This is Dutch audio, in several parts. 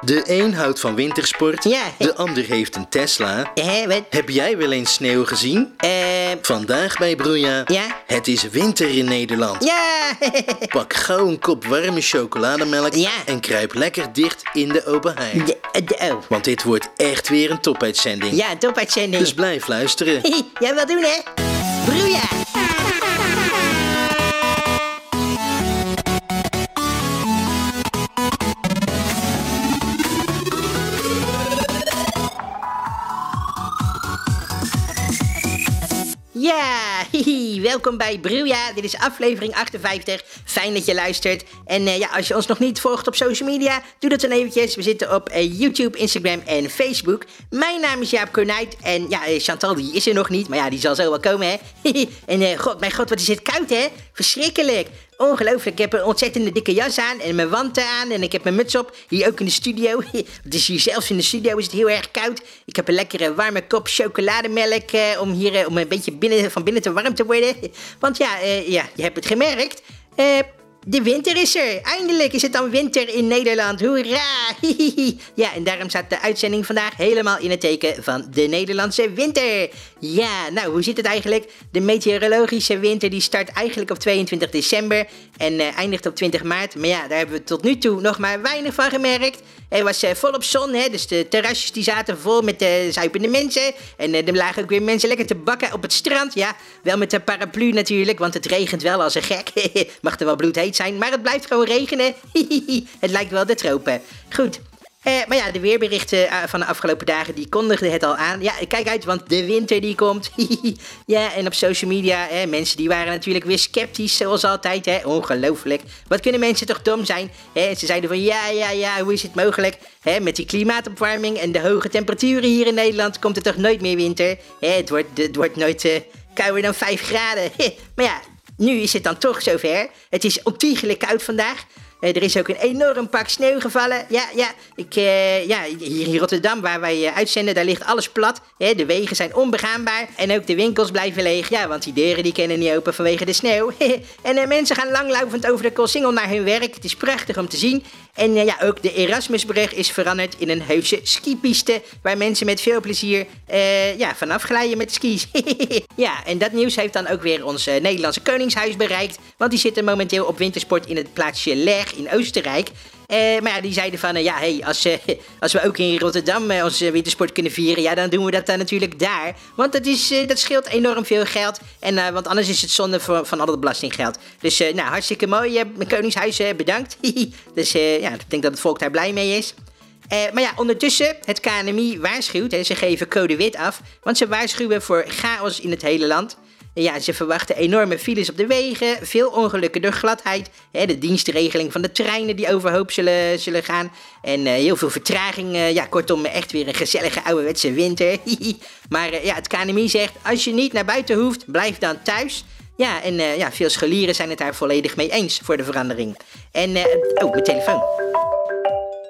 De een houdt van wintersport, Ja. de ander heeft een Tesla. Hé, wat? Heb jij wel eens sneeuw gezien? Eh, Vandaag bij Broeia. Ja. Het is winter in Nederland. ja. Pak gauw een kop warme chocolademelk Ja. en kruip lekker dicht in de open haai. De, de, oh. Want dit wordt echt weer een topuitzending. Ja, topuitzending. Dus blijf luisteren. Jij wil doen, hè? Broeia! Ja, hihi, welkom bij Bruja. Dit is aflevering 58. Fijn dat je luistert. En eh, ja, als je ons nog niet volgt op social media, doe dat dan eventjes. We zitten op eh, YouTube, Instagram en Facebook. Mijn naam is Jaap Kornuit. En ja, eh, Chantal die is er nog niet, maar ja, die zal zo wel komen, hè. en eh, god, mijn god, wat is het koud, hè? Verschrikkelijk. Ongelooflijk, ik heb een ontzettende dikke jas aan en mijn wanten aan en ik heb mijn muts op. Hier ook in de studio. Het is hier zelfs in de studio is het heel erg koud. Ik heb een lekkere warme kop chocolademelk eh, om hier eh, om een beetje binnen, van binnen te warm te worden. Want ja, eh, ja je hebt het gemerkt. Eh, de winter is er. Eindelijk is het dan winter in Nederland. Hoera! Ja, en daarom staat de uitzending vandaag helemaal in het teken van de Nederlandse winter. Ja, nou, hoe zit het eigenlijk? De meteorologische winter die start eigenlijk op 22 december en eh, eindigt op 20 maart. Maar ja, daar hebben we tot nu toe nog maar weinig van gemerkt. Er was eh, volop zon, hè, dus de terrasjes die zaten vol met eh, zuipende mensen. En eh, er lagen ook weer mensen lekker te bakken op het strand. Ja, wel met de paraplu natuurlijk, want het regent wel als een gek. Mag er wel bloedheet zijn, maar het blijft gewoon regenen. het lijkt wel de tropen. Goed, eh, maar ja, de weerberichten eh, van de afgelopen dagen die kondigden het al aan. Ja, kijk uit, want de winter die komt. ja, en op social media, hè, mensen die waren natuurlijk weer sceptisch, zoals altijd. Hè. Ongelooflijk. Wat kunnen mensen toch dom zijn? Hè, ze zeiden van ja, ja, ja, hoe is het mogelijk? Hè, met die klimaatopwarming en de hoge temperaturen hier in Nederland komt er toch nooit meer winter? Hè, het, wordt, het wordt nooit eh, kouder dan 5 graden. maar ja, nu is het dan toch zover. Het is ontiegelijk koud vandaag. Eh, er is ook een enorm pak sneeuw gevallen. Ja, ja. Ik, eh, ja hier in Rotterdam, waar wij eh, uitzenden, daar ligt alles plat. Hè, de wegen zijn onbegaanbaar. En ook de winkels blijven leeg. Ja, want die deuren die kunnen niet open vanwege de sneeuw. en eh, mensen gaan langlaufend over de Koolsingel naar hun werk. Het is prachtig om te zien. En eh, ja, ook de Erasmusbrug is veranderd in een heuse skipiste. Waar mensen met veel plezier eh, ja, vanaf glijden met de skis. ja, en dat nieuws heeft dan ook weer ons eh, Nederlandse Koningshuis bereikt. Want die zitten momenteel op wintersport in het plaatsje Leg in Oostenrijk. Eh, maar ja, die zeiden van, eh, ja, hey, als, eh, als we ook in Rotterdam eh, onze wintersport kunnen vieren, ja, dan doen we dat dan natuurlijk daar. Want dat, is, eh, dat scheelt enorm veel geld. En, eh, want anders is het zonde van, van al dat belastinggeld. Dus, eh, nou, hartstikke mooi, eh, Koningshuis, eh, bedankt. dus, eh, ja, ik denk dat het volk daar blij mee is. Eh, maar ja, ondertussen, het KNMI waarschuwt en ze geven code wit af, want ze waarschuwen voor chaos in het hele land. En Ja, ze verwachten enorme files op de wegen, veel ongelukken door gladheid, hè, de dienstregeling van de treinen die overhoop zullen, zullen gaan en eh, heel veel vertraging. eh, ja, kortom, echt weer een gezellige ouderwetse winter. maar eh, ja, het KNMI zegt, als je niet naar buiten hoeft, blijf dan thuis. Ja, en eh, ja, veel scholieren zijn het daar volledig mee eens voor de verandering. En, eh, oh, mijn telefoon.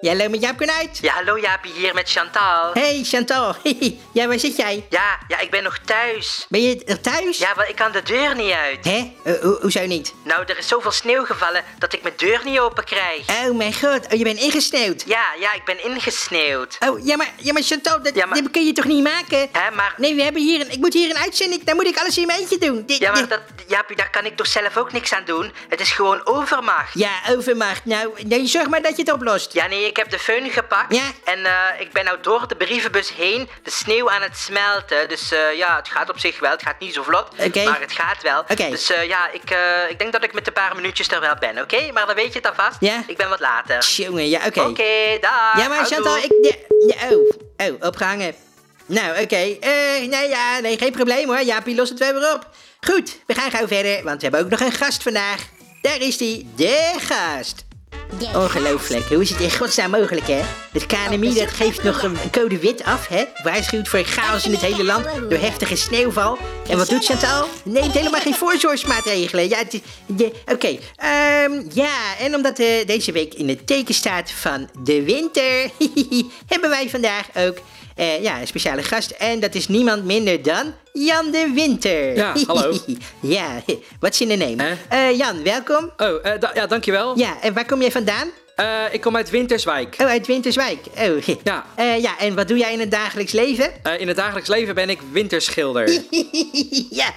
Ja, hallo met Jaap uit. Ja, hallo Jaapie, hier met Chantal. Hey Chantal, ja, waar zit jij? Ja, ja, ik ben nog thuis. Ben je nog thuis? Ja, want ik kan de deur niet uit. Hè? Eh, ho- hoezo niet? Nou, er is zoveel sneeuw gevallen dat ik mijn deur niet open krijg. Oh mijn god, oh, je bent ingesneeuwd. Ja, ja, ik ben ingesneeuwd. Oh, ja maar, ja, maar Chantal, dat, Ja, maar- dat kun je toch niet maken? Hè, maar... Nee, we hebben hier een, ik moet hier een uitzending, dan moet ik alles in mijn eentje doen. Dit- Ja, maar dit- dat, Jaapie, daar kan ik toch zelf ook niks aan doen? Het is gewoon overmacht. Ja, overmacht. Nou, nee, zorg maar dat je het oplost. Ja, nee, ik heb de föhn gepakt. Ja. En eh, ik ben nou door de brievenbus heen de sneeuw aan het smelten. Dus eh, ja, het gaat op zich wel. Het gaat niet zo vlot. Oké. Maar het gaat wel. Oké. Dus eh, ja, ik, eh, ik denk dat ik met een paar minuutjes er wel ben, oké? Maar dan weet je het alvast. Ja. Ik ben wat later. Jongen, ja, oké. Oké, daar. Ja, maar Chantal, ik... Ja, ja, oh, oh, opgehangen. Nou, oké. Eh, nee, ja, nee, geen probleem hoor. Jaapie, los het wel weer op. Goed, we gaan gauw verder, want we hebben ook nog een gast vandaag. Daar is die, de gast. Ongelooflijk, hoe is het in godsnaam mogelijk, hè? Het KNMI dat geeft nog een een code wit af, hè? Waarschuwt voor chaos in het hele land door heftige sneeuwval. En wat doet Chantal? Neemt helemaal geen voorzorgsmaatregelen. Ja, het is- de- oké. ehm, ja, en omdat eh, deze week in het teken staat van de winter, hebben wij vandaag ook eh, ja, een speciale gast. En dat is niemand minder dan Jan de Winter. Ja, hallo. ja, wat is in de neem? Hè? Jan, welkom. Oh, eh, da- ja, dankjewel. Ja, en waar kom jij vandaan? Eh, ik kom uit Winterswijk. Oh, uit Winterswijk. Oh. Ja. Eh, ja, en wat doe jij in het dagelijks leven? Eh, in het dagelijks leven ben ik winterschilder. ja.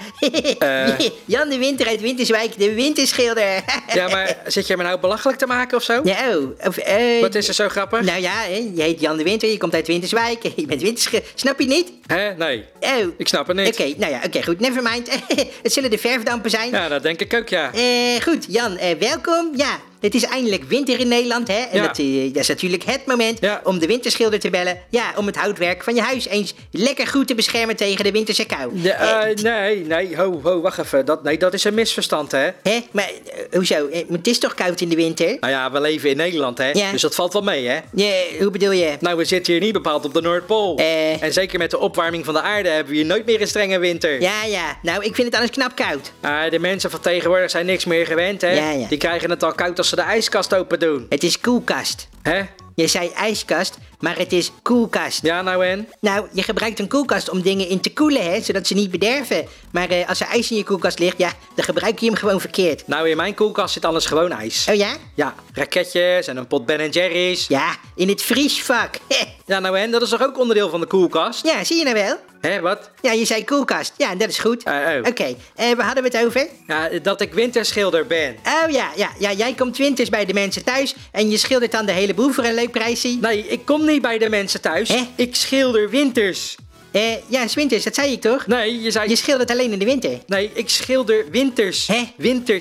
Eh. Jan de Winter uit Winterswijk, de winterschilder. ja, maar zit je me nou belachelijk te maken of zo? Ja, oh. Of, eh, Wat is er zo grappig? Nou ja, hè, je heet Jan de Winter, je komt uit Winterswijk, je bent winterschilder. Snap je het niet? Hè? Nee. Oh. Ik snap het niet. Oké, nou ja, oké, goed. Nevermind. het zullen de verfdampen zijn. Ja, dat denk ik ook, ja. Eh, goed, Jan, eh, welkom. Ja, het is eindelijk winter in Nederland, hè? En Ja. dat, eh, dat is natuurlijk het moment Ja. om de winterschilder te bellen. Ja, om het houtwerk van je huis eens lekker goed te beschermen tegen de winterse kou. Ja, Eh, eh, nee, nee, ho, ho, wacht even. Dat, nee, dat is een misverstand, hè? hè? Maar eh, hoezo? Eh, maar het is toch koud in de winter? Nou ja, we leven in Nederland, hè? Ja. Dus dat valt wel mee, hè? Ja, hoe bedoel je? Nou, we zitten hier niet bepaald op de Noordpool. Eh. En zeker met de opwarming van de aarde hebben we hier nooit meer een strenge winter. Ja, ja. Nou, ik vind het anders knap koud. Ah, de mensen van tegenwoordig zijn niks meer gewend, hè? Ja, ja. Die krijgen het al koud als ze de ijskast open doen. Het is koelkast. Hè? Je zei ijskast, maar het is koelkast. Ja, nou en? Nou, je gebruikt een koelkast om dingen in te koelen, hè, zodat ze niet bederven. Maar eh, als er ijs in je koelkast ligt, ja, dan gebruik je hem gewoon verkeerd. Nou, in mijn koelkast zit alles gewoon ijs. Oh ja? Ja, raketjes en een pot Ben Jerry's. Ja, in het vriesvak. Heh. Ja, nou en? Dat is toch ook onderdeel van de koelkast? Ja, zie je nou wel? Hè, wat? Ja, je zei koelkast. Ja, dat is goed. Eh, oh. Oké, eh, waar hadden we het over? Ja, dat ik winterschilder ben. Oh ja, ja, ja, jij komt winters bij de mensen thuis en je schildert dan de hele boel voor een leuk prijsje. Nee, ik kom niet bij de mensen thuis. Hè? Ik schilder winters. Eh, ja, is winters, dat zei ik toch? Nee, je zei... Je schildert alleen in de winter. Nee, ik schilder winters. Hè?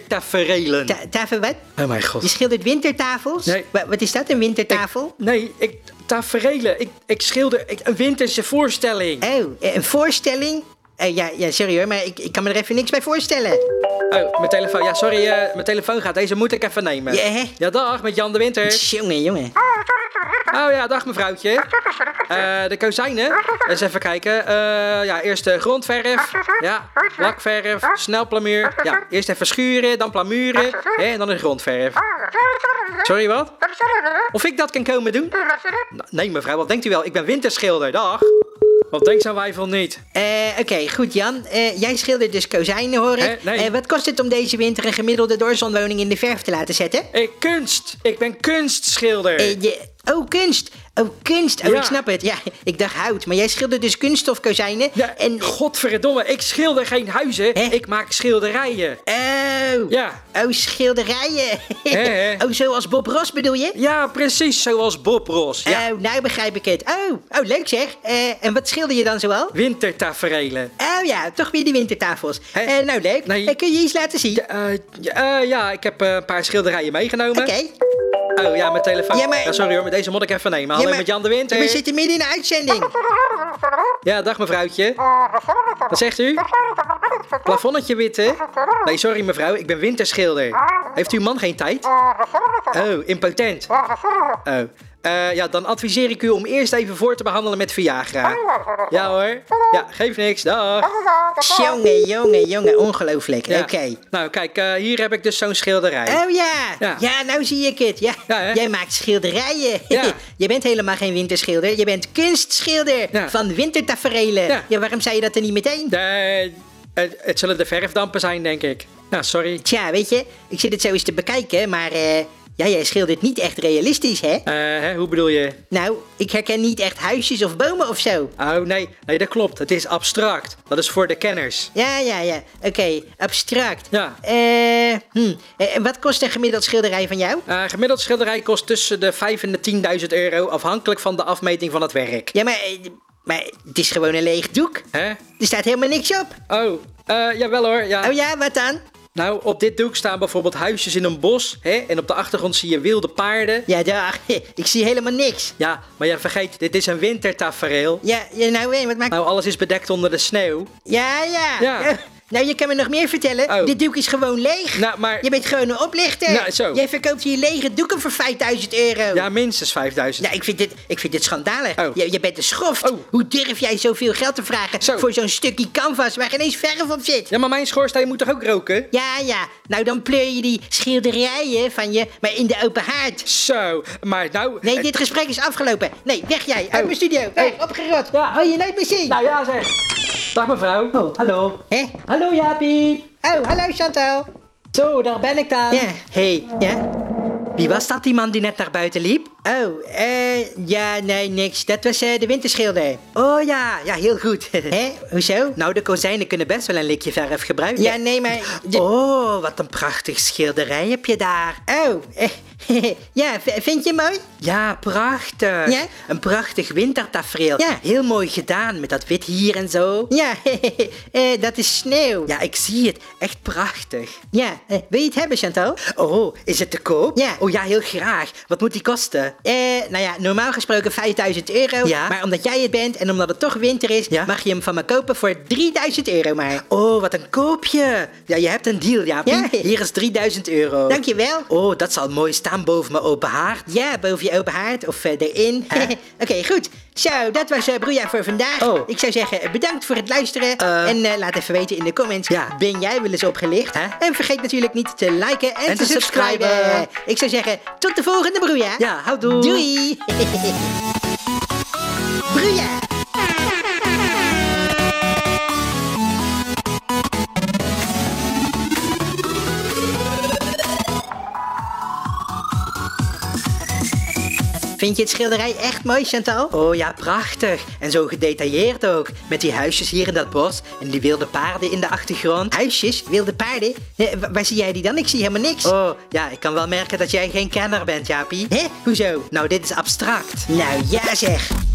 Wintertaferelen. Ta tafel wat? oh mijn Je god. schildert wintertafels? Nee. Wa- wat is dat, een wintertafel? Nee, ik... Taferelen. Ik, ik schilder ik, een winterse voorstelling. Oh, eh, een voorstelling? Eh, ja, ja, sorry hoor, maar ik, ik kan me er even niks bij voorstellen. Oh, mijn telefoon. Ja, sorry. eh, mijn telefoon gaat. Deze moet ik even nemen. Ja, hè? Ja, dag. Met Jan de Winter. Jongen, jongen. Oh ja, dag mevrouwtje. Eh, de kozijnen. Eens even kijken. Eh, ja, eerst de grondverf. Ja, lakverf. Snel plamuur. Ja, eerst even schuren, dan plamuren. Hè, en dan de grondverf. Sorry, wat? Of ik dat kan komen doen? N- Nee, mevrouw, wat denkt u wel? Ik ben winterschilder, dag. Wat denkt zo'n wijf wel niet? Eh, Oké, goed Jan. Eh, jij schildert dus kozijnen, hoor ik. Eh, nee. Eh, wat kost het om deze winter een gemiddelde doorzonwoning in de verf te laten zetten? Ik kunst. Ik ben kunstschilder. Eh, je- oh, kunst. Oh, kunst. Oh, Ja. ik snap het. Ja, ik dacht hout. Maar jij schildert dus kunststofkozijnen. Ja, En... godverdomme, ik schilder geen huizen. Hè? Ik maak schilderijen. Oh. Ja. Eh, Oh, schilderijen. Hè, hè. Oh, zoals Bob Ross bedoel je? Ja, precies zoals Bob Ross. Ja. Oh, nou begrijp ik het. Oh, oh leuk zeg. Eh, en wat schilder je dan zoal? Wintertaferelen. Oh ja, toch weer die wintertafels. Hè? Eh, nou leuk. Nee. Eh, kun je iets laten zien? Eh, ja, eh, ja, ik heb eh, een paar schilderijen meegenomen. Oké. Oh ja, mijn telefoon. Ja, maar- Ja, sorry hoor, maar deze moet ik even nemen. Hallo Ja, maar- met Jan de Winter. Ja, We zitten midden in een uitzending. Ja, dag mevrouwtje. Wat zegt u? Plafonnetje witte? Nee, sorry mevrouw, ik ben winterschilder. Heeft uw man geen tijd? Oh, impotent. Oh. Eh, ja, dan adviseer ik u om eerst even voor te behandelen met Viagra. Ja hoor. Ja, geeft niks. Dag. Jongen, jongen, jongen. Ongelooflijk. Oh. Ja. Oké. Nou, kijk, eh, hier heb ik dus zo'n schilderij. Oh ja. Ja. ja, nou zie ik het. Ja. Ja, hè? Jij maakt schilderijen. Ja. je bent helemaal geen winterschilder. Je bent kunstschilder Ja. van wintertaferelen. Ja. Ja. waarom zei je dat er niet meteen? Nee, het, het zullen de verfdampen zijn, denk ik. Nou, sorry. Tja, weet je, ik zit het zo eens te bekijken, maar eh, ja, jij schildert niet echt realistisch, hè? Eh, hè, hoe bedoel je? Nou, ik herken niet echt huisjes of bomen of zo. Oh, nee, nee, dat klopt. Het is abstract. Dat is voor de kenners. Ja, ja, ja. Oké, abstract. Ja. Eh, hm. Eh, en wat kost een gemiddeld schilderij van jou? Eh, gemiddeld schilderij kost tussen de 5 en de 10.000 euro, afhankelijk van de afmeting van het werk. Ja, maar, eh, maar het is gewoon een leeg doek. Hè? Er staat helemaal niks op. Oh, eh, jawel hoor. Ja. Oh ja, wat dan? Nou, op dit doek staan bijvoorbeeld huisjes in een bos. Hè? En op de achtergrond zie je wilde paarden. Ja, dag. Ik zie helemaal niks. Ja, maar je vergeet, dit is een wintertafereel. Ja, ja nou, eh, wat maakt... Nou, alles is bedekt onder de sneeuw. Ja, ja. Ja. Oh, Nou, je kan me nog meer vertellen. Oh. Dit doek is gewoon leeg. Nou, maar- Je bent gewoon een oplichter. Nou, zo. Jij verkoopt hier lege doeken voor 5000 euro. Ja, minstens 5000. Nou, ik vind dit, ik vind dit schandalig. Oh. Je, je bent een schoft. Oh. Hoe durf jij zoveel geld te vragen Zo. voor zo'n stukje canvas waar geen eens verf op zit? Ja, maar mijn schoorsteen moet toch ook roken? Ja, ja. Nou, dan pleur je die schilderijen van je, maar in de open haard. Zo, maar nou... Nee, dit gesprek is afgelopen. Nee, weg jij. Uit Oh. mijn studio. Weg, opgerot. Ja. Wil je nooit meer zien. Nou ja zeg. Dag mevrouw. Oh, hallo. Hè? Hallo Jaapie. Oh, hallo Chantal. Zo, daar ben ik dan. Ja. Hé, hey, Ja? Wie was dat, die man die net naar buiten liep? Oh, eh, ja, nee, niks. Dat was eh, de winterschilder. Oh ja, ja, heel goed. Hé, hoezo? Nou, de kozijnen kunnen best wel een likje verf gebruiken. Ja, nee, maar... Oh, wat een prachtig schilderij heb je daar. Oh, ja, vind je mooi? Ja, prachtig. Ja? Een prachtig wintertafereel. Ja. Heel mooi gedaan, met dat wit hier en zo. Ja, eh, dat is sneeuw. Ja, ik zie het. Echt prachtig. Ja, eh, wil je het hebben, Chantal? Oh, is het te koop? Ja. Oh ja, heel graag. Wat moet die kosten? Eh, nou ja, normaal gesproken 5000 euro. Ja. Maar omdat jij het bent en omdat het toch winter is, Ja. mag je hem van me kopen voor 3000 euro maar. Oh, wat een koopje. Ja, je hebt een deal, Jaapie. Ja. Hier is 3000 euro. Dankjewel. Oh, dat zal mooi staan boven mijn open haard. Ja, boven je open haard of eh, erin. Oké, goed. Zo, dat was eh Broeja voor vandaag. Oh. Ik zou zeggen, eh, bedankt voor het luisteren. Eh. En eh, laat even weten in de comments, Ja. ben jij wel eens opgelicht? Hè? En vergeet natuurlijk niet te liken en, En te, te subscriben. subscriben. Ik zou zeggen, tot de volgende Broeja. Ja, houdoe. Doei. Broeja. Vind je het schilderij echt mooi, Chantal? Oh ja, prachtig. En zo gedetailleerd ook. Met die huisjes hier in dat bos en die wilde paarden in de achtergrond. Huisjes, wilde paarden. Eh, wa- waar zie jij die dan? Ik zie helemaal niks. Oh, ja, ik kan wel merken dat jij geen kenner bent, Jaapie. Hè? Hoezo? Nou, dit is abstract. Nou ja zeg.